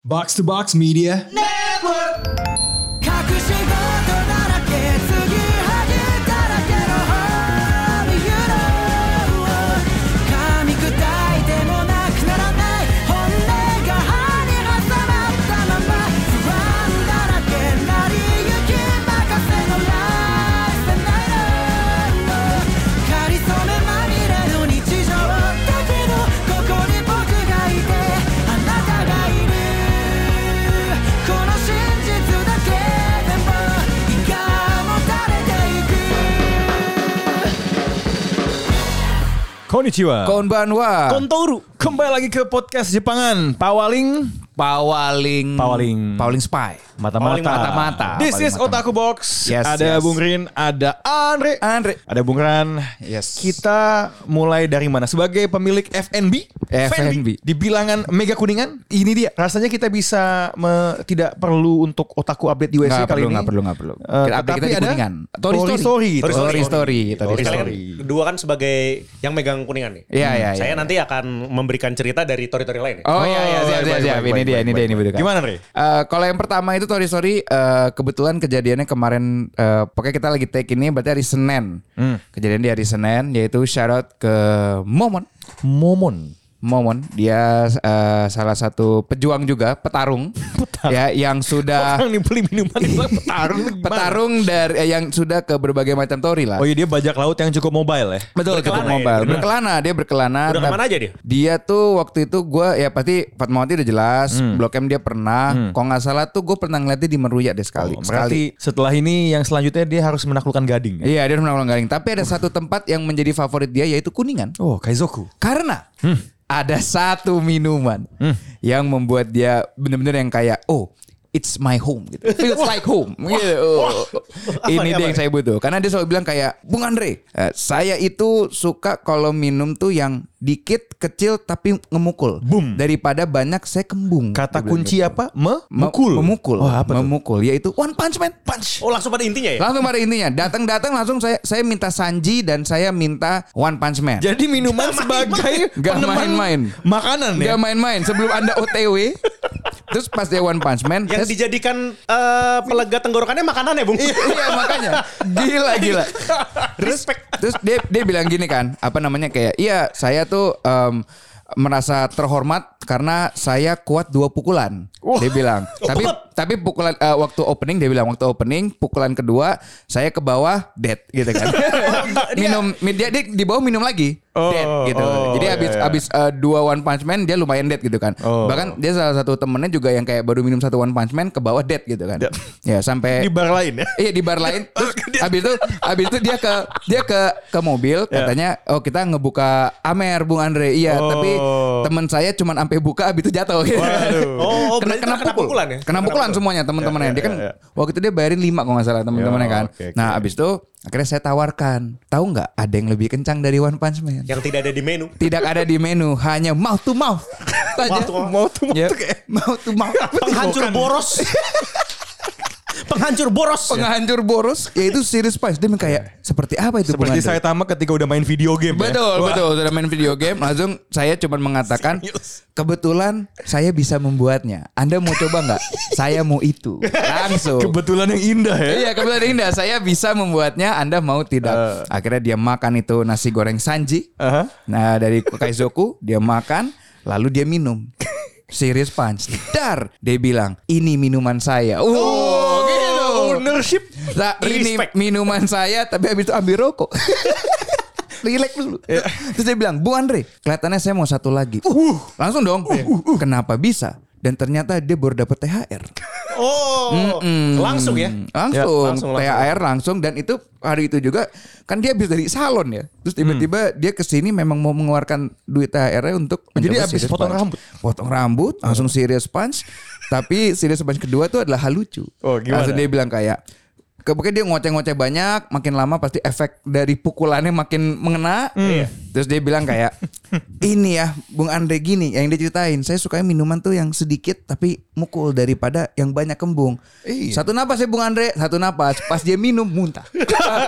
Box to Box Media. 隠し事だらけ継ぎはぎだらけのハリユーロー噛み砕いてもなくならない本音が歯に挟まったまま不安だらけなりゆき任せのライフスタイルかりそめまみれの日常だけどここに僕がいてあなたがいるこの真実だけでも胃がもたれていく Konnichiwa. Konbanwa. Kontoru. Kembali lagi ke podcast Jepangan. Pawaling. Pawaling. Pawaling. Pawaling Spy. Mata-mata. Mata-mata. This Paling is Otaku Box. Yes, ada yes. Bung Rin, ada Andre. Andre. Ada Bung Ran. Yes. Kita mulai dari mana? Sebagai pemilik FNB. FNB. Di bilangan Mega Kuningan. Ini dia. Rasanya kita bisa me- tidak perlu untuk Otaku update di WC Nggak perlu, kali ini. nggak perlu, nggak perlu. Eh, Update tetapi kita di ada Kuningan. Tori Tori Story. Story. Gitu. Tori Story. Tori Tori Kita kan Story. kedua kan sebagai yang megang kuningan nih. Iya, iya, iya. Saya nanti akan memberikan cerita dari tori-tori lain. ya. Oh, iya, iya, siap, Oh, baik, siap, siap. baik, baik, Ini baik, dia, baik, ini dia, baik. ini dia. Gimana, Re? Eh, kalau yang pertama itu Tori Story, eh, kebetulan kejadiannya kemarin, eh, pokoknya kita lagi take ini berarti hari Senin. Hmm. Kejadian di hari Senin, yaitu shout out ke Momon. Momon. Momon, dia eh, salah satu pejuang juga, petarung. Ya, yang sudah... Orang nih beli minuman itu petarung gimana? petarung dari eh, yang sudah ke berbagai macam tori lah. Oh iya dia bajak laut yang cukup mobile ya. Betul, Berkelana cukup ya, mobile. dia beneran. berkelana, dia berkelana. Udah Tap- kemana aja dia? Dia tuh waktu itu gue ya pasti Fatmawati udah jelas, Hmm. Blok M dia pernah. Kalau nggak salah tuh gue pernah ngeliatnya di Meruya deh sekali. Oh, sekali. berarti setelah ini yang selanjutnya dia harus menaklukkan gading. ya? Iya dia pernah ulang garing. Tapi ada satu tempat yang menjadi favorit dia yaitu Kuningan. Oh Kaizoku. Karena Hmm. ada satu minuman yang membuat dia bener-bener yang kayak oh it's my home gitu. Feels like home. Gitu. Oh. Ini nih, dia apa yang saya butuh. Karena dia selalu bilang kayak Bung Andre, eh, saya itu suka kalau minum tuh yang dikit kecil tapi ngemukul. Boom. Daripada banyak saya kembung. Kata Dia bilang kunci gitu. apa? Me- Me- Memukul. Memukul. Wah apa tuh? memukul yaitu One Punch Man. Punch. Oh langsung pada intinya ya? Langsung pada intinya, datang-datang langsung saya saya minta Sanji dan saya minta One Punch Man. Jadi minuman sebagai Gak peneman main-main. Makanan ya. Gak main-main sebelum anda OTW Terus pas dia One Punch Man Yang saya- dijadikan eh, pelega tenggorokannya makanan ya Bung? Iya makanya Gila gila Terus, Respect. terus dia, dia bilang gini kan Apa namanya kayak Iya saya tuh em, merasa terhormat karena saya kuat dua pukulan. Dia bilang. Tapi tapi pukulan eh, waktu opening dia bilang waktu opening pukulan kedua saya ke bawah dead gitu kan. minum mi- dia, dia di bawah minum lagi dead gitu. Oh, oh, Jadi iya, abis iya. abis eh, dua one punch man dia lumayan dead gitu kan. Oh. Bahkan dia salah satu temennya juga yang kayak baru minum satu one punch man ke bawah dead gitu kan. Ya sampai Di bar lain ya. Iya di bar lain. Terus abis itu abis itu dia ke dia ke ke mobil katanya oh kita ngebuka Amer Bung Andre. Iya, Oh. tapi teman saya cuman sampai buka abis itu jatuh gitu. Waduh. Oh, oh, kena, berarti kena kena pukul. pukulan ya? Kena pukulan semuanya teman-temannya. Ya, ya, dia kan ya, waktu itu dia bayarin 5 kalau nggak salah teman-temannya Ya, kan. oke, oke. Nah, abis itu akhirnya saya tawarkan. Tahu nggak ada yang lebih kencang dari One Punch Man? Yang tidak ada di menu. Tidak ada di menu, hanya mouth to mouth. Mouth to mouth mouth. to mouth. Mouth to mouth. Penghancur boros. Penghancur boros. Penghancur boros yaitu Sirius Spice. Dia bilang kayak seperti apa itu Bung Seperti Andre?" saya tamak ketika udah main video game ya. Betul, Wah, betul. Sudah main video game, langsung saya cuma mengatakan, kebetulan saya bisa membuatnya. Anda mau coba nggak? saya mau itu. Langsung. Kebetulan yang indah ya. Iya kebetulan indah Saya bisa membuatnya Anda mau tidak Akhirnya dia makan itu Nasi goreng Sanji Aha. Nah dari Kaizoku Dia makan Lalu dia minum Serious punch Dar Dia bilang Ini minuman saya Oh, gitu. Ownership. Nah, ini Respect. minuman saya tapi habis itu ambil rokok. Relax dulu. Terus dia bilang, Bu Andre, kelihatannya saya mau satu lagi. Langsung dong. Kenapa bisa? Dan ternyata dia baru dapat THR. Oh, langsung ya. Hmm, Langsung, Ya, langsung, langsung. THR langsung dan itu hari itu juga kan dia habis dari salon ya. Terus tiba-tiba dia ke sini memang mau mengeluarkan duit THR-nya untuk Hmm. Jadi mencoba habis serious potong punch. rambut? Potong rambut, langsung serious punch. tapi serious punch kedua itu adalah hal lucu. Oh, gimana? Langsung dia bilang kayak ke- Pokoknya dia ngoceh-ngoceh banyak, makin lama pasti efek dari pukulannya makin mengena. Hmm. Terus dia bilang kayak, ini ya Bung Andre gini, yang dia ceritain, saya sukanya minuman tuh yang sedikit tapi mukul daripada yang banyak kembung. Iya. Satu napas ya Bung Andre, satu napas. Pas dia minum muntah.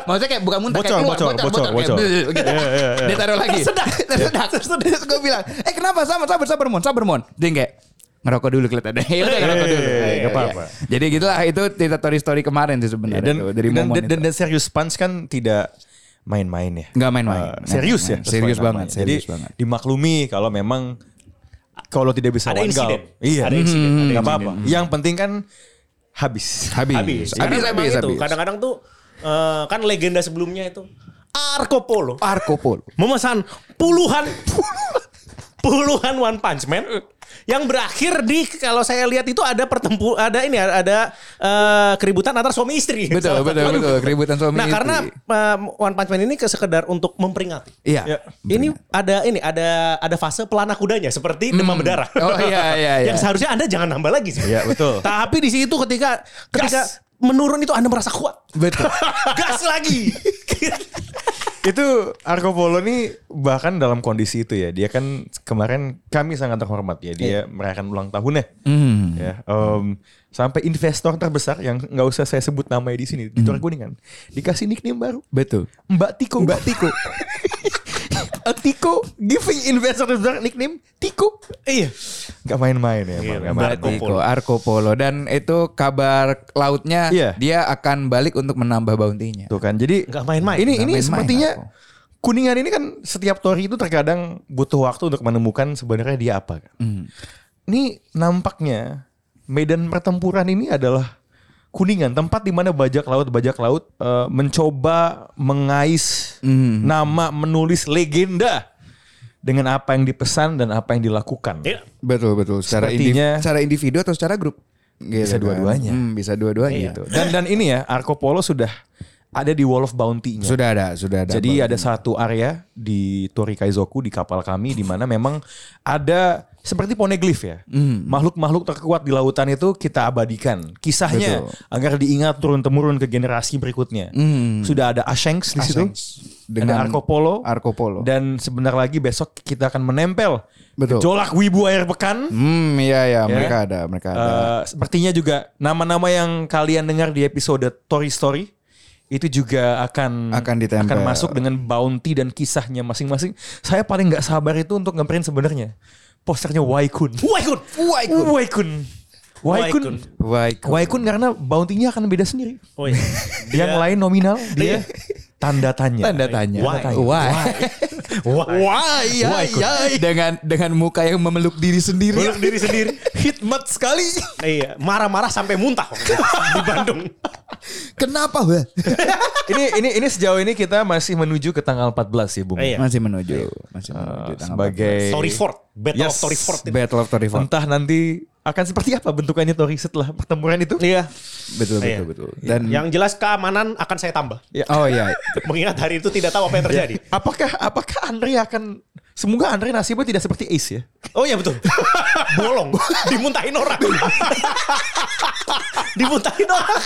Maksudnya kayak bukan muntah, Bocor, kayak keluar, bocor, bocor, kayak bocor. bleh, gitu. Dia taruh lagi. Tersedak, tersedak. Terus gue bilang, eh kenapa sabar, sabar, sabar mon, sabar mon. Dia yang kayak, ngerokok dulu kelihatan ada. Ya udah ngerokok dulu. Eh, Iya, nggak apa-apa. iya. Jadi gitulah itu cerita story story kemarin sih Ya, sebenarnya dan, tuh, dari dan, momen dan, dan, itu. dan serius Pans kan tidak main-main ya. Nggak main-main. Eh, serius Nggak main-main. ya. Serius banget, sesuai namanya. serius Jadi banget. dimaklumi kalau memang kalau tidak bisa Ada one insiden. goal. Iya. Ada insiden, ada Nggak insiden. apa-apa. Yang penting kan habis. habis habis. Karena habis memang habis, itu habis. kadang-kadang tuh eh, kan legenda sebelumnya itu Arco Polo Marco Polo. memesan puluhan puluhan One Punch Man yang berakhir di kalau saya lihat itu ada pertempu ada ini ada eh, keributan antara suami istri. Betul, Salah betul, satu. betul. Keributan suami Nah, istri. karena eh, One Punch Man ini ke sekedar untuk memperingati. Iya. Ya. Ini ada ini ada ada fase pelana kudanya seperti demam Hmm. berdarah. Oh, iya, iya, iya. Yang seharusnya Anda jangan nambah lagi sih. Iya, betul. Tapi di situ ketika ketika menurun itu Anda merasa kuat. Betul. Gas lagi. itu Arco Polo nih bahkan dalam kondisi itu ya dia kan kemarin kami sangat terhormat ya Iya. dia merayakan ulang tahunnya Hmm, ya em, sampai investor terbesar yang nggak usah saya sebut namanya di sini di Tuan Hmm. Kuningan dikasih nickname baru Betul. Mbak Tiko Mbak Tiko Tiko giving investor terbesar nickname Tiko iya. nggak main-main ya Bang, Iya, nggak Mbak main-main. Tiko. Tiko Arco Polo dan itu kabar lautnya Iya. dia akan balik untuk menambah bounty-nya. Tuh kan. Jadi Nggak main-main. Ini Nggak ini main-main sepertinya aku. Kuningan ini kan setiap tori itu terkadang butuh waktu untuk menemukan sebenarnya dia apa. kan. Hmm. Ini nampaknya medan pertempuran ini adalah Kuningan, tempat di mana bajak laut bajak laut eh, mencoba mengais Hmm. nama menulis legenda dengan apa yang dipesan dan apa yang dilakukan. Ya. Iya. Betul betul. Secara Sepertinya- individu, secara individu atau secara grup. Gitu Bisa kan. dua-duanya. Hmm, bisa dua-duanya. Gitu. Dan dan ini ya Arco Polo sudah ada di Wall of Bounty-nya. Sudah ada, sudah ada. Jadi bounty. ada satu area di Torikaizoku di kapal kami di mana memang ada seperti poneglyph ya. Hmm. Makhluk-makhluk terkuat di lautan itu kita abadikan kisahnya Betul. agar diingat turun-temurun ke generasi berikutnya. Hmm. Sudah ada Ashengs di situ. Ashengs. Dengan ada Arco Polo. Arco Polo. Dan sebentar lagi besok kita akan menempel Betul. Jolak Wibu Air Pekan. Hmm, iya ya, Ya. mereka ada, mereka ada. Eh, sepertinya juga nama-nama yang kalian dengar di episode Tori Story itu juga akan Akan ditempel. akan masuk dengan bounty dan kisahnya masing-masing. Saya paling nggak sabar itu untuk ngeprint sebenarnya posternya Waikun. Waikun. Waikun. Waikun. Waikun. Waikun. Baik. Waikun karena bounty-nya akan beda sendiri. Oh iya. Yang lain nominal dia tanda tanya. Tanda tanya. Why? Why? Wah. Why? Ya, Waikun. ya. Dengan dengan muka yang memeluk diri sendiri. Meluk diri sendiri. Hikmat sekali. Iya, marah-marah sampai muntah waktu itu di Bandung. Kenapa, Wah? ini ini ini sejauh ini kita masih menuju ke tanggal 14 ya, Bung. Iya. Masih menuju, masih menuju Eh, tanggal sebagai Story Fort, Battle Yes. of Story Fort. 14. Battle of Torrey Fork. entah nanti akan seperti apa bentukannya Tori setelah pertempuran itu. Iya. Betul, Iya. betul, betul. Dan Yang jelas keamanan akan saya tambah. Oh iya, Mengingat hari itu tidak tahu apa yang terjadi. Apakah apakah Andre akan semoga Andre nasibnya tidak seperti Ace ya? Oh iya betul. Bolong, dimuntahin orang. dimuntahin orang.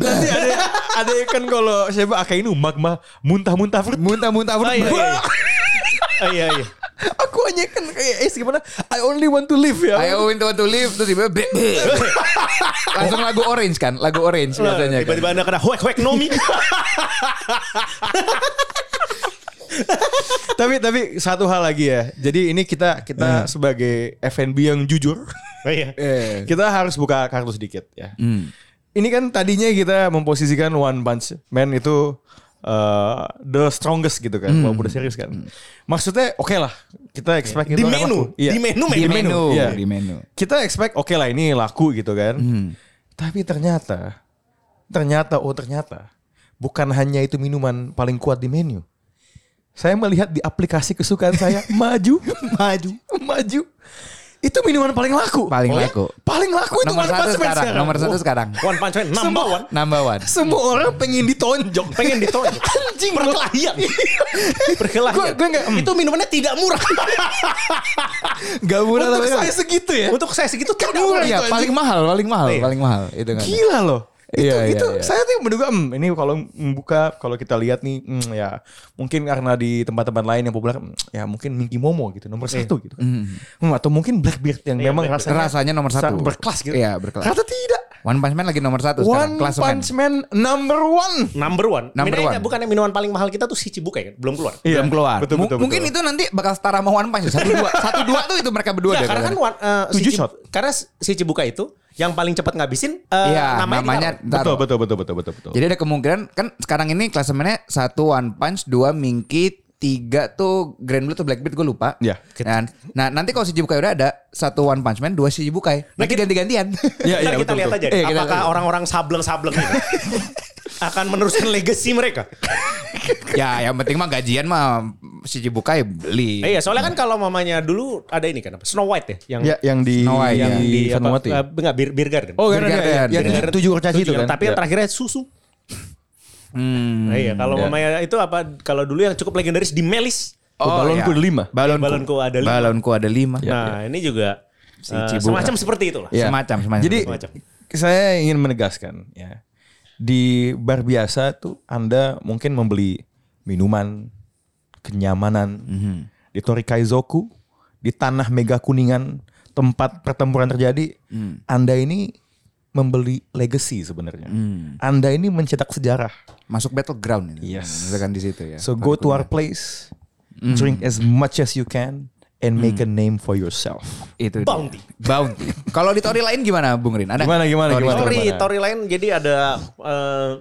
Nanti ada ada yang kan kalau siapa Akainu magma muntah-muntah fruit. muntah-muntah Oh, iya, iya. Wah, Oh, iya, iya. Aku hanya kan kayak Ace gimana? I only want to live ya. I want to, want to live terus tiba langsung lagu orange kan lagu orange biasanya kan Tiba-tiba anda kena huek-huek nomi. tapi tapi satu hal lagi ya. Jadi ini kita kita sebagai FNB yang jujur, Oh, iya. Eh, kita harus buka kartu sedikit ya. Hmm. Ini kan tadinya kita memposisikan One Punch Man itu eh, the strongest gitu kan, walaupun udah serius kan. Maksudnya oke lah, kita expect Di itu akan menu, laku. Iya. di menu, di menu Iya. di menu kita expect oke lah ini laku gitu kan. Hmm. Tapi ternyata, ternyata oh ternyata bukan hanya itu minuman paling kuat di menu. Saya melihat di aplikasi kesukaan saya maju, maju, maju. Itu minuman paling laku. Paling ya? laku. Paling laku itu nomor One satu Punch Man Oh. sekarang, nomor satu Wah, sekarang One Punch Man, number one. number one Semua orang pengen ditonjok. Pengen ditonjok. Anjing Perkelahian. Gue Perkelahian. gue nggak Itu minumannya tidak murah. gak murah untuk tapi kan. saya segitu ya. Untuk saya segitu tidak Kedua, murah. iya itu paling mahal paling mahal Iya. paling mahal itu kan Gila loh. Itu, Iya, iya, itu iya. saya tuh menduga hmm, ini kalau membuka kalau kita lihat nih hmm, ya mungkin karena di tempat-tempat lain yang populer hmm, ya mungkin Minky Momo gitu nomor satu gitu Hmm, atau mungkin Blackbeard yang memang rasanya Rasanya nomor sa- satu. berkelas gitu Iya, berkelas. ternyata tidak One Punch Man lagi nomor satu One sekarang. Kelas Punch Man number one. Number one. Number Minuman- one. Bukannya minuman paling mahal kita tuh si Cibuka ya? Belum keluar. belum keluar. Iya. Betul, Mu- betul, mungkin betul. itu nanti bakal setara sama One Punch. Satu dua, satu dua tuh itu mereka berdua. deh Iya, karena kan kalau one- eh, si Tujuh Cib- shot. Karena si Cibuka itu yang paling cepat ngabisin ada. eh, Iya, namanya, namanya ditaruh. ntar. Betul, betul, betul, betul, betul, betul. Jadi ada kemungkinan kan sekarang ini klasemennya satu One Punch, dua Minky, tiga tuh Grand Blue tuh Black Beard gue lupa. Iya. Dan- nah nanti kalau si Jibukai udah ada satu One Punch Man, dua si Jibukai. Nanti ganti-gantian. Iya, Ntar iya, kita betul, lihat betul. aja Iya, Nah, kita apakah lihat. orang-orang sableng-sableng ini akan meneruskan legacy mereka. ya yang penting mah gajian mah si Jibukai beli. Eh, iya, soalnya kan kalau mamanya dulu ada ini kan apa? Snow White ya yang Iya. Ya, yang di Snow White, yang iya. di apa, Vanuatu ya? eh, enggak bir, Beer Garden. Oh, kan Beer ada Garden. ya. Beer Yang Garden. tujuh kurcaci itu Tujuh, kan. Tapi yang terakhirnya susu. Iya. Hmm. Nah, iya, kalau mamanya itu apa kalau dulu yang cukup legendaris di Melis. Oh, balonku iya. ada lima. Balonku, Balonku ada lima. Balonku ada lima. nah, ini juga Iya, Si eh, Cibuka. semacam seperti itulah. Iya. Semacam, semacam. Jadi Semacam. saya ingin menegaskan ya. Di bar biasa tuh Anda mungkin membeli minuman, kenyamanan di Torikaizoku, di tanah Mega Kuningan, tempat pertempuran terjadi. Anda ini membeli legacy sebenarnya. Anda ini mencetak sejarah. Masuk battleground ini. Yes. Misalkan di situ ya. So go to our place, drink as much as you can and make a name for yourself. itu dia. Bounty. Bounty. Kalau di tori lain gimana Bung Rin? Ada? Gimana, gimana, Tori gimana? lain? Tori, Tori lain jadi ada eh,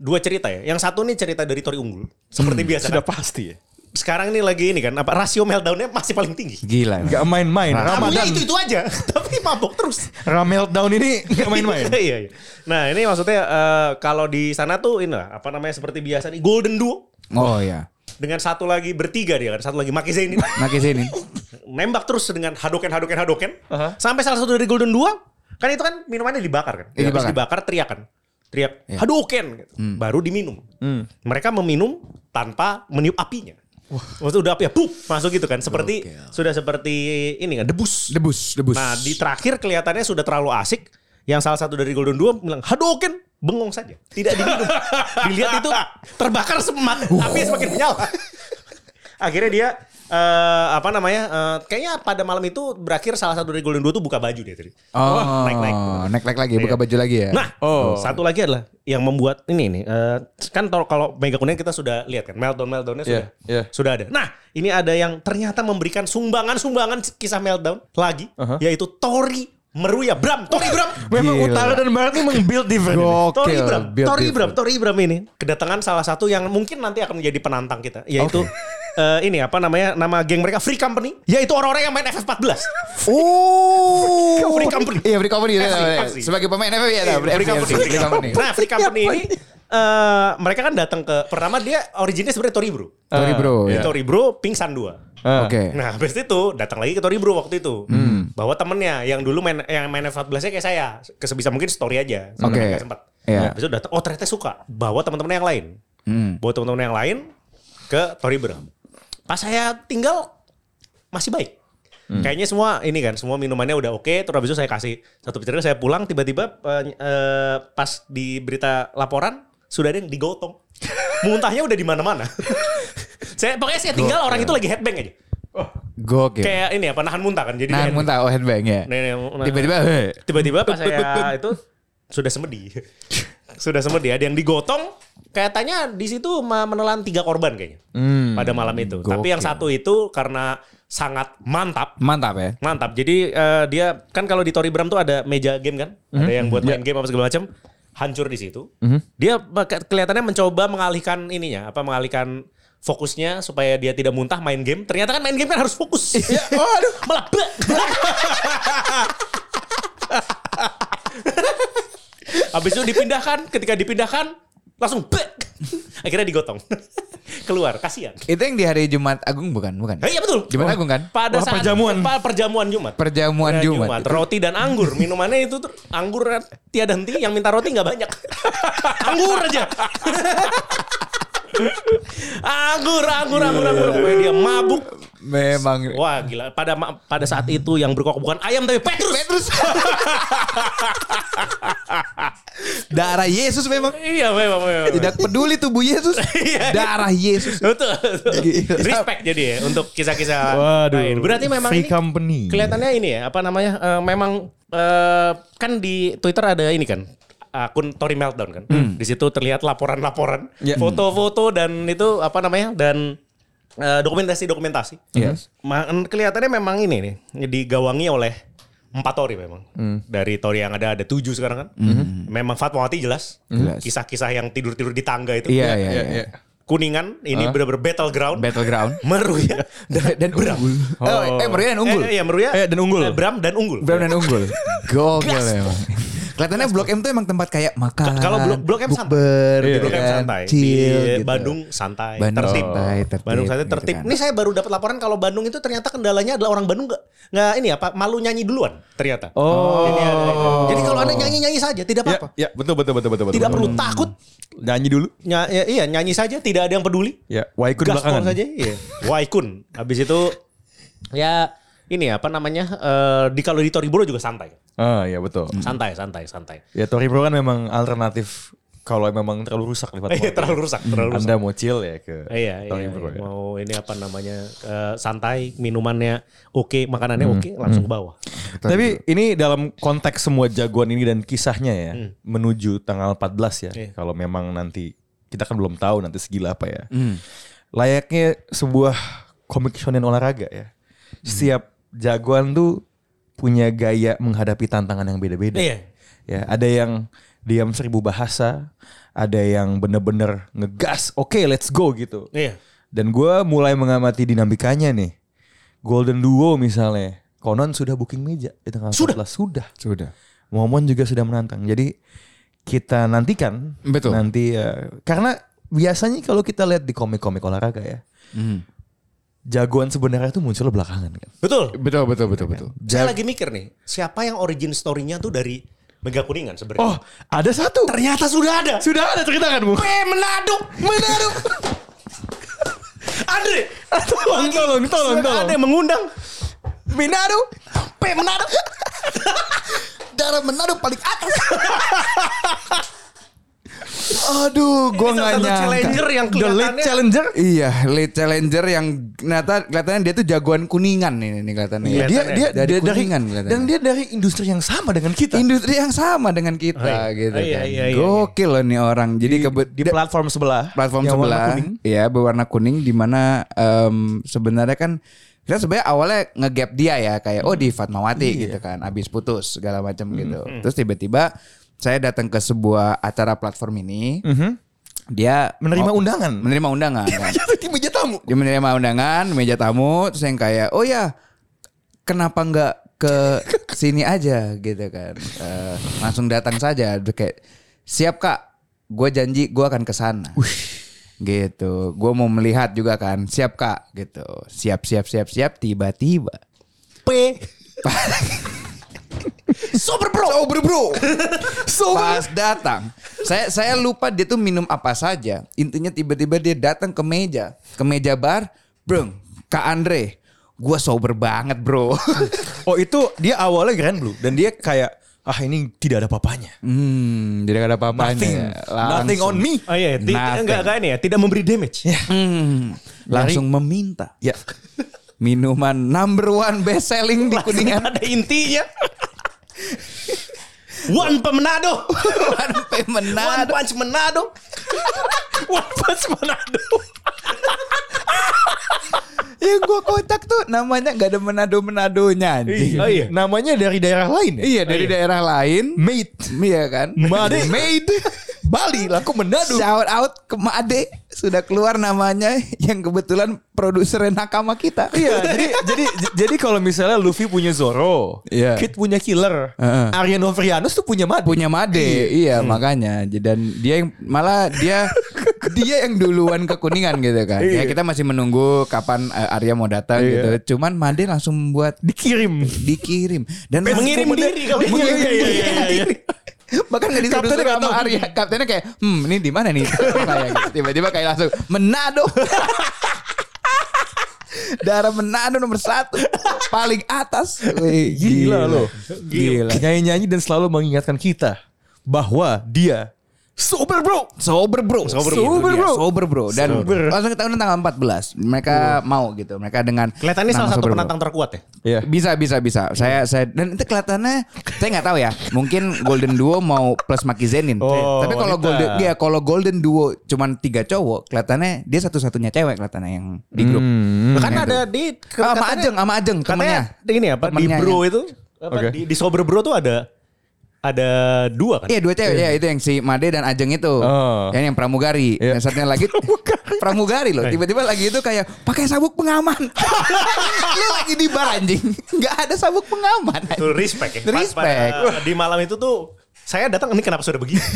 dua cerita ya. Yang satu nih cerita dari Tori Unggul. Seperti biasa. kan? Sudah pasti ya. Sekarang nih lagi ini kan apa rasio meltdownnya masih paling tinggi. Gila. Gak main-main. Tamunya Ramadan, itu itu aja, tapi mabok terus. Ramel down ini gak main-main. iya, iya. Nah ini maksudnya eh, kalau di sana tuh ini lah, apa namanya seperti biasa nih Golden Duo Oh ya. dengan satu lagi bertiga dia kan, satu lagi Maki Zainin Nah ke sini. nembak terus dengan hadoken hadoken hadoken sampai salah satu dari Golden Duo kan itu kan minumannya dibakar kan, Iya, Habis dibakar. dibakar teriakan, teriak hadoken gitu. baru diminum. Mereka meminum tanpa meniup apinya. Maksudnya udah api ya, pup, masuk gitu kan. Seperti sudah seperti ini kan debus. Debus, debus. Nah di terakhir kelihatannya sudah terlalu asik. Yang salah satu dari Golden Dua bilang Hadoken bengong saja, tidak diminum. Dilihat itu terbakar semat, api semakin menyala. Akhirnya dia eh, apa namanya? eh, kayaknya pada malam itu berakhir salah satu dari Golden Dua tuh buka baju dia tadi. Oh, naik naik. Naik-naik lagi, buka Iya. baju lagi ya. Nah, satu lagi adalah yang membuat ini nih. eh, kan tol- kalau Mega Kuningan kita sudah lihat kan, meltdown meltdownnya sudah iya. sudah ada. Nah, ini ada yang ternyata memberikan sumbangan-sumbangan kisah meltdown lagi, Uh-huh. Aha. yaitu Tori Meruya Bram, Tori Bram. Memang Gila. utara dan barat ini memang build different. Gokil. Tori Bram, build Tori different. Bram, Tori Bram ini kedatangan salah satu yang mungkin nanti akan menjadi penantang kita, yaitu eh, ini apa namanya nama geng mereka Free Company, yaitu orang-orang yang main FF14. Oh. Free company. Iya, free company. Eh, Iya, free iya. company. Sebagai pemain FF ya. Iya, Free, free company. Free company. Nah, free company ini eh, mereka kan datang ke pertama dia originnya sebenarnya Tori Bro. Tori bro. Di ya. Tori Bro pingsan dua. Ah. Oke. Nah, habis itu datang lagi ke Tori Bro waktu itu. Hmm. Bawa temennya yang dulu main yang main F14-nya kayak saya. Kesebisa mungkin story aja. Soalnya Oke. nggak sempat. Iya. Habis itu datang, oh ternyata suka. Bawa teman-temannya yang lain. Hmm. Bawa teman-teman yang lain ke Tori Bro. Pas saya tinggal masih baik. Hmm. Kayaknya semua ini kan, semua minumannya udah oke. Terus habis itu saya kasih satu pikiran saya pulang tiba-tiba eh, eh, pas di berita laporan sudah ada yang digotong. Muntahnya udah di mana-mana. saya pokoknya saya tinggal orang itu lagi headbang aja. Gokil. Kayak ini apa nahan muntah kan. Jadi Nah, dia- Iya. muntah. Oh, headbang ya. Nih, nih, nah. Tiba-tiba. eh, heh. Tiba-tiba pas saya itu sudah semedi. sudah semedi ada yang digotong katanya di situ ma- menelan tiga korban kayaknya. pada malam itu. Tapi yang Hmm. gokil. satu itu karena sangat mantap Mantap ya. Mantap. Jadi eh, dia kan kalau di Tori Bram tuh ada meja game kan, ada Mhm. yang buat Iya. main game apa segala macam, hancur di situ. Dia baka- kelihatannya mencoba mengalihkan ininya, apa mengalihkan fokusnya supaya dia tidak muntah main game. Ternyata kan main game kan harus fokus. Iya. oh, aduh, melebek. Habis itu dipindahkan, ketika dipindahkan langsung bek. Akhirnya digotong. Keluar, kasihan. Itu yang di hari Jumat Agung bukan? Bukan. Eh, iya betul. Jumat Agung kan? Pada Wah, saat perjamuan. pa- perjamuan Jumat. Perjamuan Nah, Jumat. Roti dan anggur. Minumannya itu tuh anggur tiada henti. Yang minta roti nggak banyak. anggur aja. anggur, anggur, anggur, Iya. anggur. Pokoknya dia mabuk. Memang. Wah gila. Pada ma- pada saat itu yang berkokok bukan ayam tapi Petrus. Petrus. Darah Yesus memang. Iya memang, memang. Tidak peduli tubuh Yesus. Iya, Darah Yesus. Betul. Gila. Respect jadi ya untuk kisah-kisah Waduh. lain. Berarti memang free ini company. kelihatannya ini ya, apa namanya? eh, memang eh, kan di Twitter ada ini kan akun Tory Meltdown kan. Di situ terlihat laporan-laporan, Hmm. Ya. foto-foto dan itu apa namanya? dan eh, dokumentasi-dokumentasi. Yes. Ma- Kelihatannya memang ini nih digawangi oleh empat Tori memang. Hmm. Dari Tori yang ada ada tujuh sekarang kan. Memang Fatmawati jelas. Jelas. Kisah-kisah yang tidur-tidur di tangga itu. Iya, iya, Iya, iya. iya. Kuningan ini benar-benar battleground. ya. Battleground. Meruya dan, Dan Bram. unggul. Oh, eh Meruya dan unggul. Eh, iya, Meruya Eh, dan unggul. eh, Bram dan unggul. Brown dan unggul. Gokil memang. Kelihatannya Blok M tuh emang tempat kayak makan. Kalau Blok- Blok M santai. bukber, Di gitu Blok M kan, Iya. santai. Chill, Di gitu. Bandung santai, Bandung tertib. santai, tertib, Bandung santai gitu tertib. kan. Ini saya baru dapat laporan kalau Bandung itu ternyata kendalanya adalah orang Bandung nggak nggak ini apa malu nyanyi duluan ternyata. Oh. Jadi, ada- gitu. jadi kalau Anda nyanyi-nyanyi saja tidak Ya, apa-apa. ya, betul betul betul betul. betul, Tidak betul. perlu takut. Nyanyi dulu. Nya- ya, iya, nyanyi saja tidak ada yang peduli. Ya, Waikun Gaspol belakangan. saja, iya. Waikun. Habis itu ya ini apa namanya? eh, di kalau di Toriboro juga santai. Ah, ya betul. Hmm. Santai, santai, santai. Ya Tori Pro kan memang alternatif kalau memang terlalu rusak di Fatmawati. Iya, terlalu rusak, terlalu rusak. Anda mau chill ya ke Iya, iya, Tori Pro. iya. ya. mau ini apa namanya eh, santai, minumannya oke, makanannya Hmm, oke, langsung ke bawah. Tapi ini dalam konteks semua jagoan ini dan kisahnya ya menuju tanggal 14 ya. Hmm. Iya. Kalau memang nanti kita kan belum tahu nanti segila apa ya. Hmm. Layaknya sebuah komik shonen olahraga ya. Hmm. Setiap jagoan tuh punya gaya menghadapi tantangan yang beda-beda. Iya. Ya, ada yang diam seribu bahasa, ada yang bener-bener ngegas, oke let's go gitu. Iya. Dan gue mulai mengamati dinamikanya nih. Golden Duo misalnya, konon sudah booking meja di tengah Sudah? 14. sudah. Sudah. Momon juga sudah menantang. Jadi kita nantikan Betul. nanti ya. karena biasanya kalau kita lihat di komik-komik olahraga ya, jagoan sebenarnya itu muncul belakangan kan. Betul. Betul, betul, betul, betul. Saya lagi mikir nih, siapa yang origin story-nya tuh dari Mega Kuningan Oh, sebenarnya? ada satu. ternyata sudah ada. Sudah ada cerita kan, Bu? Eh, menaduk, menaduk. Andre, Tolong, tolong, tolong, sudah tolong. ada yang mengundang. Minado, Pe, menaduk. darah Menado paling atas. Aduh, gue Ini salah nggak satu nyangka. challenger yang The late kelihatannya- challenger. Iya, lead challenger yang ternyata kelihatannya dia tuh jagoan kuningan ini, ini kelihatannya. Iya, Dia Kelihatannya. dia Dari dia dari Kuningan kelihatannya. dan dia dari industri yang sama dengan kita. Industri yang sama dengan Oh, kita iya. gitu Oh, iya, kan. iya, iya, Gokil loh nih orang. Jadi kebe- di da- platform sebelah. platform yang warna sebelah kuning. ya berwarna kuning di mana em, sebenarnya kan kita sebenarnya awalnya ngegap dia ya kayak oh di Fatmawati gitu kan abis putus segala macam gitu terus tiba-tiba saya datang ke sebuah acara platform ini Mm-hmm. dia Hmm. Menerima undangan. menerima undangan kan. di meja tamu. dia menerima undangan meja tamu terus yang kayak oh ya kenapa nggak ke sini aja gitu kan Eh, langsung datang saja kayak siap kak gue janji gue akan ke sana gitu gue mau melihat juga kan siap kak gitu siap siap siap siap tiba-tiba P. sober bro sober bro pas datang saya saya lupa dia tuh minum apa saja intinya tiba-tiba dia datang ke meja ke meja bar bro kak Andre gue sober banget bro Oh itu dia awalnya Grand Blue dan dia kayak ah ini tidak ada papanya. Hmm, tidak ada apa-apanya. Nothing. Nothing on me. Oh iya, ti- Nah, Nothing. enggak enggak ini ya, tidak memberi damage. Hmm, langsung meminta Ya. minuman number one best selling di Kuningan. Kuningan ada intinya. One pemenado. One One pemenado. punch menado. One punch menado. Ya gua kocak tuh namanya nggak ada menado menadonya. anjing. Oh iya. Namanya dari daerah lain ya? Iya dari daerah lain. Mate. Hmm. Iya kan. Made. Made. Bali laku menado. Shout out ke Made sudah keluar namanya yang kebetulan produser nakama kita. Iya, jadi jadi jadi kalau misalnya Luffy punya Zoro, Iya. Kid punya Killer, Heeh. Arya Novrianus tuh punya Mad. punya Made. Iya, makanya. Jadi, Dan dia yang malah dia dia yang duluan ke Kuningan gitu kan. Ya kita masih menunggu kapan eh, Arya mau datang gitu. Cuman Made langsung membuat dikirim. dikirim dan Mengirim langsung- diri kalau mengirim iya, iya, iya, iya, iya. diri. Bahkan gak disuruh Kaptennya nggak sama tahu. Arya. Kaptennya kayak, hmm ini di mana nih? Kayak gitu. Tiba-tiba kayak langsung Menado. Darah Menado nomor satu paling atas. Wih, Gila, loh. Gila. Nyanyi-nyanyi dan selalu mengingatkan kita bahwa dia sober bro. Sober bro. Sober, Sober gitu, bro. iya. Sober bro. Dan Sober. langsung ke tahun tanggal 14. Mereka mau gitu. Mereka dengan Kelihatannya nama salah satu Sober Bro. penantang terkuat ya. Iya. Bisa bisa bisa. Saya saya dan itu kelihatannya saya nggak tahu ya. Mungkin Golden Duo mau plus Maki Zenin. Oh, Tapi kalau wanita. Golden dia kalau Golden Duo cuman tiga cowok, kelihatannya dia satu-satunya cewek kelihatannya yang di grup. Kan Hmm. Iya, ada tuh. di Ah, sama katanya- Ajeng, sama Ajeng temennya. Katanya ini apa di Temennya, bro ya. itu apa, Oke. di, di sober bro tuh ada ada dua kan? Iya dua cewek ya itu yang si Made dan Ajeng itu. Oh. Yang yang pramugari. Iya. Yang satunya lagi pramugari, loh. Tiba-tiba lagi itu kayak pakai sabuk pengaman. Lu lagi di bar anjing. Enggak ada sabuk pengaman. anjing. Itu respect ya. Pas- Respect. pada- di malam itu tuh saya datang ini kenapa sudah begini?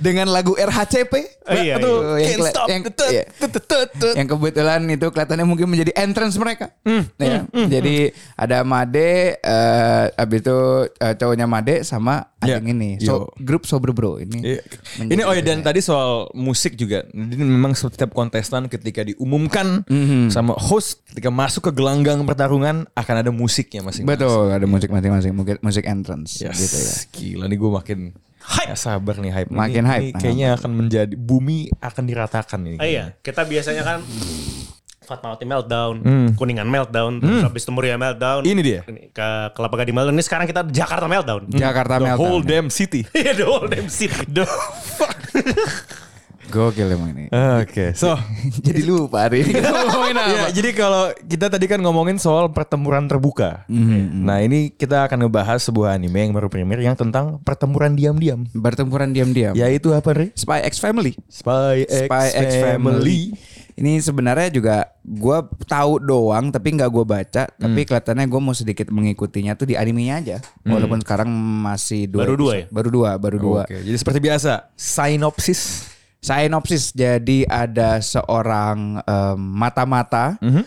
dengan lagu RHCP. Oh, iya, Aduh, iya. Yang, kela- yang, iya. Yang kebetulan itu kelihatannya mungkin menjadi entrance mereka. Hmm, Ya. Jadi ada Made, eh abis itu eh, cowoknya Made sama Iya. Ajeng ini. So, grup Sober Bro ini. Iya. Ini oh ya dan tadi soal musik juga. Jadi memang setiap kontestan ketika diumumkan Hmm. sama host ketika masuk ke gelanggang pertarungan akan ada musiknya masing-masing. Betul, ada musik masing-masing, mungkin musik entrance Yes. gitu ya. Gila nih gue makin Hype. Nggak sabar nih hype. Ini- Makin ini hype. kayaknya akan menjadi bumi akan diratakan ini. Ah, iya, kita biasanya kan Fatmawati meltdown, Kuningan meltdown, terus habis itu Muria meltdown. Hmm. Ini dia. Ke Kelapa Gading meltdown. Ini sekarang kita Jakarta meltdown. Jakarta Hmm. The Meltdown. ya. whole damn city. Iya, the whole damn city. Gokil emang ini. Ah, Oke, so Jadi lupa hari ini. Ngomongin apa? ya, jadi kalau kita tadi kan ngomongin soal pertempuran terbuka. Mhm. Nah ini kita akan ngebahas sebuah anime yang baru premier yang tentang pertempuran diam-diam. Bertempuran diam-diam. Yaitu apa Ri? Spy X Family. Spy X, Spy X Family. Family. Ini sebenarnya juga gue tahu doang tapi nggak gue baca tapi kelihatannya gue mau sedikit mengikutinya tuh di animenya aja walaupun sekarang masih dua Baru dua episode. ya? baru dua baru dua Oke, jadi seperti biasa sinopsis. sinopsis jadi ada seorang em, mata-mata eh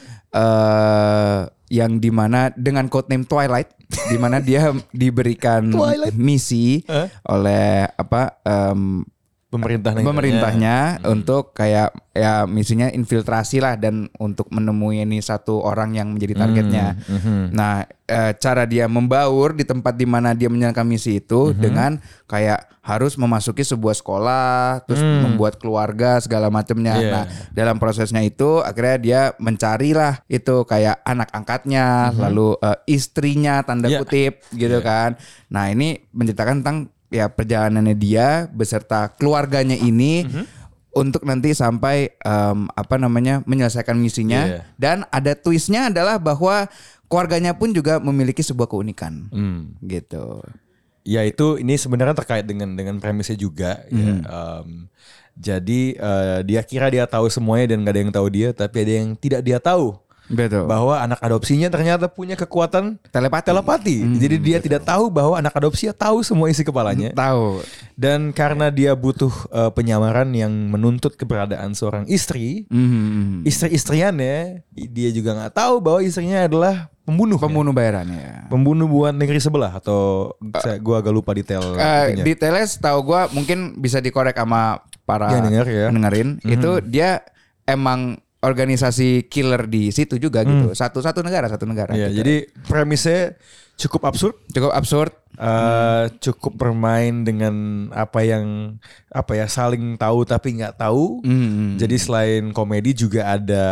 yang dimana dengan codename Twilight dimana dia diberikan misi oleh apa em, Pemerintah Iya. Hmm. negaranya. pemerintahnya untuk kayak ya misinya infiltrasi lah dan untuk menemui ini satu orang yang Hmm. menjadi targetnya. Nah, eh, cara dia membaur di tempat di mana dia menjalankan misi itu Hmm. dengan kayak harus memasuki sebuah sekolah, terus membuat keluarga segala macamnya. Hmm. Iya. Nah, dalam prosesnya itu akhirnya dia mencarilah itu kayak anak angkatnya, lalu eh, istrinya tanda Hmm. Iya. kutip gitu kan. Nah, ini menceritakan tentang ya perjalanannya dia beserta keluarganya ini Mhm. untuk nanti sampai em, apa namanya menyelesaikan misinya Iya. dan ada twistnya adalah bahwa keluarganya pun juga memiliki sebuah keunikan Hmm. gitu. Ya itu ini sebenarnya terkait dengan dengan premisnya juga. Ya. Mhm. Em, jadi eh, dia kira dia tahu semuanya dan gak ada yang tahu dia, tapi ada yang tidak dia tahu Betul. bahwa anak adopsinya ternyata punya kekuatan Telepati. telepati. jadi dia tidak tahu bahwa anak adopsinya tahu semua isi kepalanya. Tahu. Dan karena dia butuh eh, penyamaran yang menuntut keberadaan seorang istri, Mhm. istri-istriannya dia juga nggak tahu bahwa istrinya adalah pembunuh. ya. Pembunuh bayarannya. ya. Pembunuh buat negeri sebelah atau saya, gua agak lupa detail Eh, itunya. detailnya setahu gue mungkin bisa dikorek sama para Ya, denger ya. pendengarin. Itu dia emang organisasi killer di situ juga gitu. Satu satu negara satu negara. Mhm. Iya, gitu. jadi premisnya cukup absurd, cukup absurd. eh, cukup bermain dengan apa yang apa ya saling tahu tapi nggak tahu. Hmm. Jadi selain komedi juga ada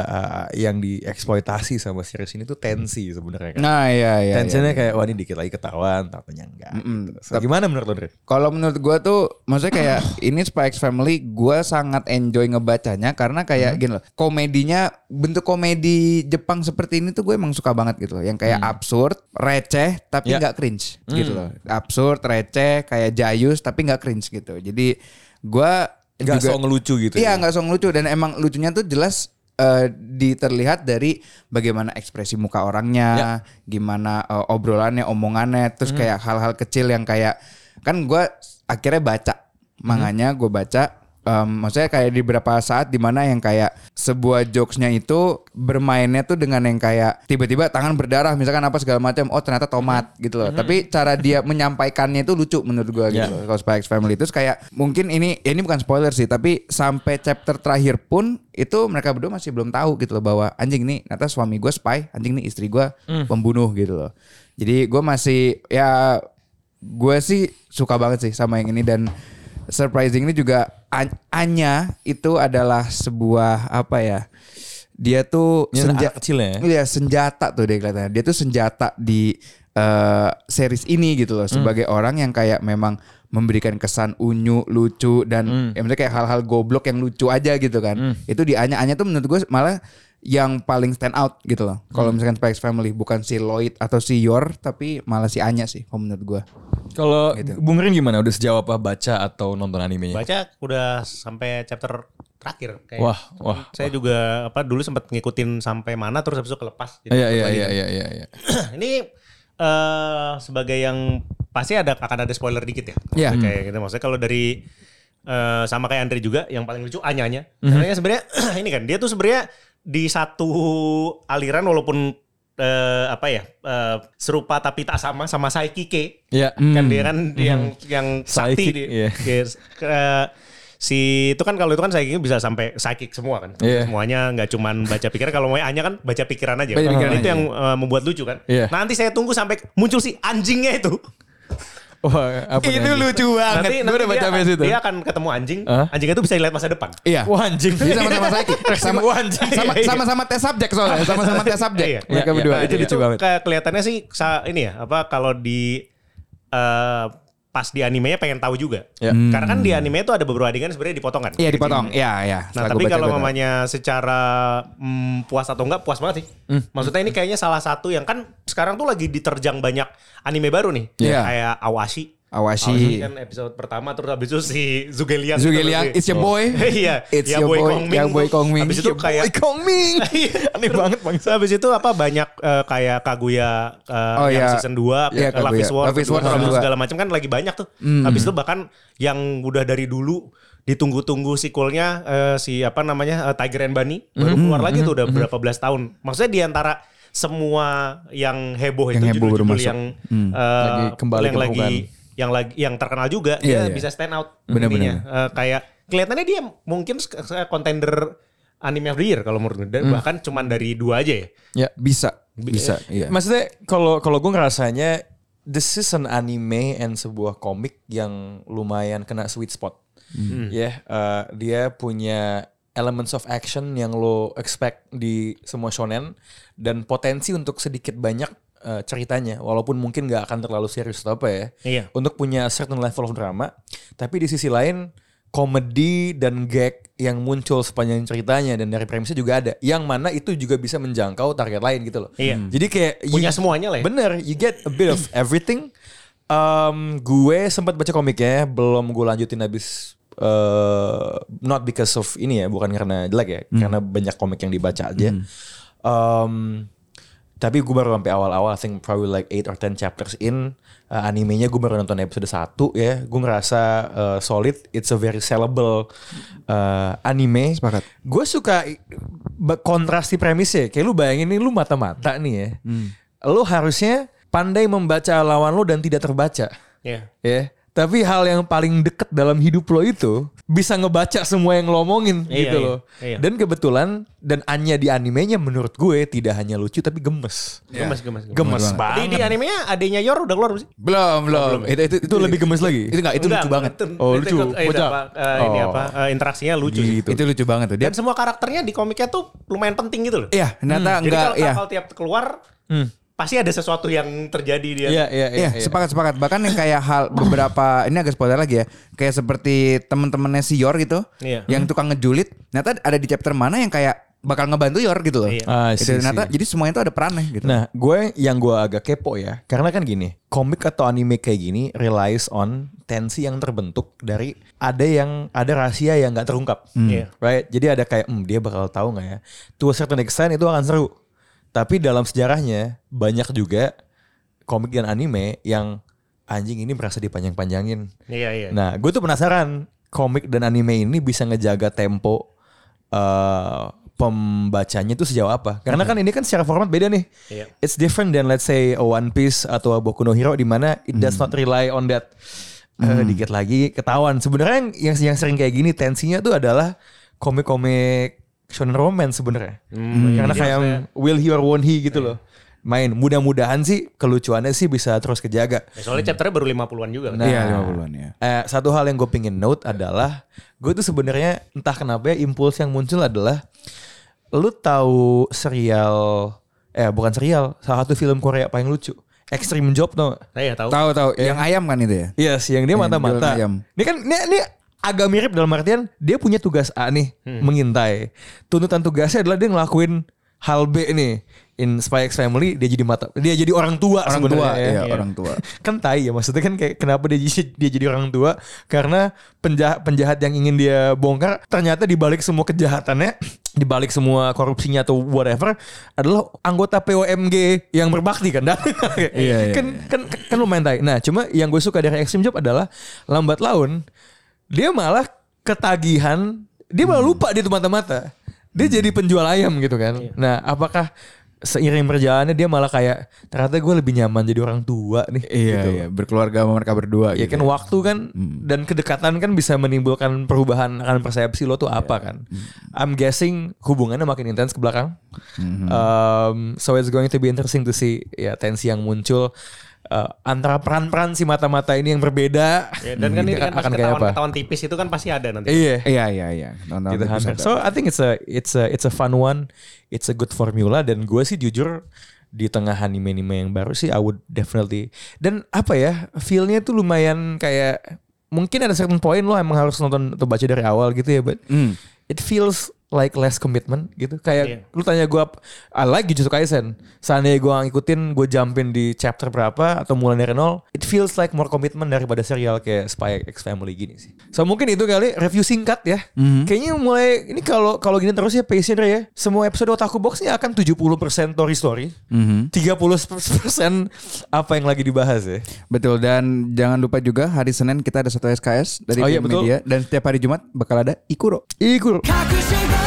eh, yang dieksploitasi sama series ini tuh tensi sebenarnya kan. Nah iya iya. iya. Tensinya kayak wah ini dikit lagi ketahuan, takutnya enggak. gitu. So, gimana menurut lo, Dre? Kalau menurut gua tuh maksudnya kayak ini Spy X Family gua sangat enjoy ngebacanya karena kayak gini loh. Komedinya bentuk komedi Jepang seperti ini tuh gue emang suka banget gitu loh. Yang kayak absurd, receh tapi Ya. nggak cringe gitu loh. Absurd, receh, kayak jayus tapi nggak cringe gitu. Jadi gua Gak juga- so ngelucu gitu. Iya ya? nggak song lucu dan emang lucunya tuh jelas eh, di terlihat dari bagaimana ekspresi muka Ya. orangnya, gimana eh, obrolannya, omongannya, terus Hmm. kayak hal-hal kecil yang kayak kan gua akhirnya baca Hmm. manganya gue baca. em, maksudnya kayak di beberapa saat dimana yang kayak sebuah jokesnya itu bermainnya tuh dengan yang kayak tiba-tiba tangan berdarah misalkan apa segala macam oh ternyata tomat Hmm. gitu loh tapi cara dia menyampaikannya itu lucu menurut gua gitu Ya. loh. Kalau Spy X Family itu kayak mungkin ini ya ini bukan spoiler sih, tapi sampai chapter terakhir pun itu mereka berdua masih belum tahu gitu loh bahwa anjing nih ternyata suami Hmm. gue spy, anjing nih istri gue pembunuh gitu loh. Jadi gue masih ya gue sih suka banget sih sama yang ini dan surprisingly juga An- Anya itu adalah sebuah apa ya? Dia tuh Ini anak kecil ya? Iya senjata tuh dia kelihatannya. Dia tuh senjata di eh, series ini gitu loh sebagai Hmm. orang yang kayak memang memberikan kesan unyu, lucu Hmm. dan ya maksudnya kayak hal-hal goblok yang lucu aja gitu kan. Itu di Anya Anya tuh menurut gue malah yang paling stand out gitu loh. Kalau Hmm. misalkan Spikes Family bukan si Lloyd atau si Yor tapi malah si Anya sih kalau menurut gue. Kalau Bung Rin gimana? Udah sejauh apa baca atau nonton animenya? Baca udah sampai chapter terakhir kayak. Wah, wah. Saya juga apa dulu sempat ngikutin sampai mana terus habis itu kelepas. Jadi Iya, iya, kembali. iya, iya, iya, iya. Ini eh sebagai yang pasti ada akan ada spoiler dikit ya. Iya. Maksudnya Kayak gitu maksudnya kalau dari eh sama kayak Andre juga yang paling lucu anyanya. Mhm. Karena sebenarnya ini kan dia tuh sebenarnya di satu aliran walaupun eh apa ya eh, serupa tapi tak sama sama Saikike Iya. kan dia kan yang yang sakti Psychic, dia. iya. Dia, eh, si itu kan kalau itu kan psychic bisa sampai psychic semua kan. Iya. Semuanya nggak cuman baca pikiran kalau mau Anya kan baca pikiran aja. Baca pikiran Dan itu aja. yang eh, membuat lucu kan. Iya. Nanti saya tunggu sampai muncul si anjingnya itu. Wah, apa nih, anjing? lucu Nanti, Gua udah nanti baca dia, sampai situ. dia akan ketemu anjing. Hah? Anjingnya itu bisa dilihat masa depan. Iya. Wah, anjing. Jadi sama-sama saiki. Sama Wah, anjing. sama sama sama tes subjek soalnya, sama-sama tes subjek. Iya. Mereka Iya, berdua. Nah, itu jadi lucu tuh banget. kayak kelihatannya sih sa- ini ya apa kalau di eh, pas di animenya pengen tahu juga. Ya. Karena kan di anime itu ada beberapa adegan sebenarnya dipotongan. Iya dipotong. Iya, iya. Nah Setelah tapi gua baca, kalau gua tahu. mamanya secara mm, puas atau enggak puas banget sih. Maksudnya ini kayaknya salah satu yang kan sekarang tuh lagi diterjang banyak anime baru nih. Iya. Kayak Awashi. Awashi. kan episode pertama terus habis itu si Zugeliang. Zugeliang, it's your boy. Iya. It's Ya your boy boy, Kong Ming yang boy tuh. Kong Ming. Habis itu Your kayak- boy Kong Ming. Aneh banget bang. Habis itu apa banyak eh, kayak Kaguya eh, Oh, yang iya. season 2, Iya, Love Kaguya. is War, Love is War season kedua, terus dua. Hmm. segala macam kan lagi banyak tuh. Habis itu bahkan yang udah dari dulu ditunggu-tunggu sequelnya eh, si apa namanya eh, Tiger and Bunny baru Hmm. keluar lagi tuh udah berapa belas tahun. Maksudnya di antara semua yang heboh Yang itu heboh baru judul-judul masuk. yang Hmm. eh, Lagi kembali yang ke lagi permukaan. yang lagi yang terkenal juga Iya, iya. dia bisa stand out Benar, ininya. Eh, kayak kelihatannya dia mungkin sk- sk- kontender anime of the year kalau menurut gue Hmm. Dan bahkan cuman dari dua aja ya. Ya. Bisa. Bisa, iya. Maksudnya kalau kalau gue ngerasanya this is an anime and sebuah komik yang lumayan kena sweet spot. Ya, eh, dia punya elements of action yang lo expect di semua shonen dan potensi untuk sedikit banyak eh, ceritanya walaupun mungkin nggak akan terlalu serius atau apa ya. Iya. Untuk punya certain level of drama, tapi di sisi lain komedi dan gag yang muncul sepanjang ceritanya dan dari premisnya juga ada. Yang mana itu juga bisa menjangkau target lain gitu loh. Iya. Jadi kayak Punya semuanya lah ya. Bener, you get a bit of everything. Um, gue sempat baca komiknya, belum gue lanjutin habis eh, not because of ini ya, bukan karena jelek ya, Hmm. karena banyak komik yang dibaca aja. Um, tapi gue baru sampai awal-awal, I think probably like 8 or 10 chapters in. Uh, animenya gue baru nonton episode 1 ya. Gue ngerasa uh, solid, it's a very sellable uh, anime. Sepakat. Gue suka i- ba- kontras di premisnya. Kayak lu bayangin nih lu mata-mata nih ya. Lu harusnya pandai membaca lawan lu dan tidak terbaca. Iya. Ya. Tapi hal yang paling deket dalam hidup lo itu bisa ngebaca semua yang lo omongin Iya, gitu iya, loh. iya. Dan kebetulan dan Anya di animenya menurut gue tidak hanya lucu tapi gemes. Iya. Gemes, gemes, Iya, gemes. Gemes Di, banget. di animenya adenya Yor udah keluar belum Iya. sih? Belum, belum. Itu itu Itu lebih gemes lagi. Itu enggak, Ah, itu Udah, lucu banget. itu- Oh, itu lucu. ikut- eh, itu Kocak. apa, eh, Ini Oh. apa? eh, interaksinya lucu sih. Itu gitu. lucu banget tuh. Dia Dan semua karakternya di komiknya tuh lumayan penting gitu loh. Iya, ternyata Jadi enggak kalau iya. Hmm. kalau tiap keluar pasti ada sesuatu yang terjadi dia. Iya, iya, iya. Iya, sepakat sepakat. Bahkan yang kayak hal beberapa ini agak spoiler lagi ya. Kayak seperti temen-temennya si Yor gitu, Iya. yang tukang ngejulit. Ternyata ada di chapter mana yang kayak bakal ngebantu Yor gitu loh. Iya. Ah, I Itu see, ternyata see. jadi semuanya itu ada perannya gitu. Nah, gue yang gue agak kepo ya, karena kan gini, komik atau anime kayak gini relies on tensi yang terbentuk dari ada yang ada rahasia yang nggak terungkap, Iya. right? Jadi ada kayak, hmm, dia bakal tahu nggak ya? To a certain extent itu akan seru, tapi dalam sejarahnya banyak juga komik dan anime yang anjing ini merasa dipanjang-panjangin. Iya, iya. Nah, gue tuh penasaran komik dan anime ini bisa ngejaga tempo eh, pembacanya tuh sejauh apa? Karena kan ini kan secara format beda nih. Iya. It's different than let's say a One Piece atau a Boku no Hero di mana it does not rely on that. Eh, Dikit lagi ketahuan. Sebenarnya yang, yang yang sering kayak gini tensinya tuh adalah Hmm. Iya, komik-komik shonen romance sebenarnya. Karena kayak Will he or won't he gitu loh. main. Mudah-mudahan sih kelucuannya sih bisa terus kejaga. Ya, soalnya chapternya baru 50-an juga. kan. Nah, Iya, 50-an ya. Eh, satu hal yang gue pingin note adalah gue tuh sebenarnya entah kenapa ya impuls yang muncul adalah lu tahu serial eh bukan serial salah satu film Korea paling lucu Extreme Job tau gak? Saya tahu. Nah, Tahu tahu yang ayam kan itu ya? Yes, yang dia Yang mata-mata. jualan ayam. Ini kan ini, ini agak mirip dalam artian dia punya tugas A nih, Hmm. mengintai. Tuntutan tugasnya adalah dia ngelakuin hal B nih. In Spy X Family dia jadi mata dia jadi orang tua Orang tua, sebenarnya ya. iya, orang tua. Kan tai ya maksudnya kan kayak kenapa dia jadi dia jadi orang tua karena penjahat penjahat yang ingin dia bongkar ternyata dibalik semua kejahatannya dibalik semua korupsinya atau whatever adalah anggota POMG yang berbakti kan Dan? Iya, iya, kan kan kan lumayan tai. Nah, cuma yang gue suka dari Extreme Job adalah lambat laun dia malah ketagihan, dia malah lupa dia tuh mata-mata. Dia jadi penjual ayam gitu kan. Nah, apakah seiring perjalanannya dia malah kayak ternyata gue lebih nyaman jadi orang tua nih Iya, gitu. iya, berkeluarga sama mereka berdua gitu. Ya kan waktu kan dan kedekatan kan bisa menimbulkan perubahan akan persepsi lo tuh apa kan. I'm guessing hubungannya makin intens ke belakang. Um, so it's going to be interesting to see ya tensi yang muncul uh, antara peran-peran si mata-mata ini yang berbeda. Ya, dan kan ini Gitu, kan pasti akan kayak apa? ketahuan tipis itu kan pasti ada nanti. Iya. Iya, iya, iya. Nonton Gitu, terus Han. ada. So I think it's a it's a it's a fun one. It's a good formula dan gue sih jujur di tengah anime-anime yang baru sih I would definitely dan apa ya feel-nya tuh lumayan kayak mungkin ada certain point lo emang harus nonton atau baca dari awal gitu ya but Hmm. it feels like less commitment gitu kayak Iya. lu tanya gue I like Jujutsu Kaisen seandainya gue ngikutin gue jumpin di chapter berapa atau mulai dari nol it feels like more commitment daripada serial kayak Spy X Family gini sih so mungkin itu kali review singkat ya kayaknya mulai ini kalau kalau gini terus ya pace ya semua episode Otaku Box ini akan 70% story story 30% apa yang lagi dibahas ya Betul dan jangan lupa juga hari Senin kita ada satu SKS dari Oh iya, Green betul. Media dan setiap hari Jumat bakal ada Ikuro. Ikut 隠し事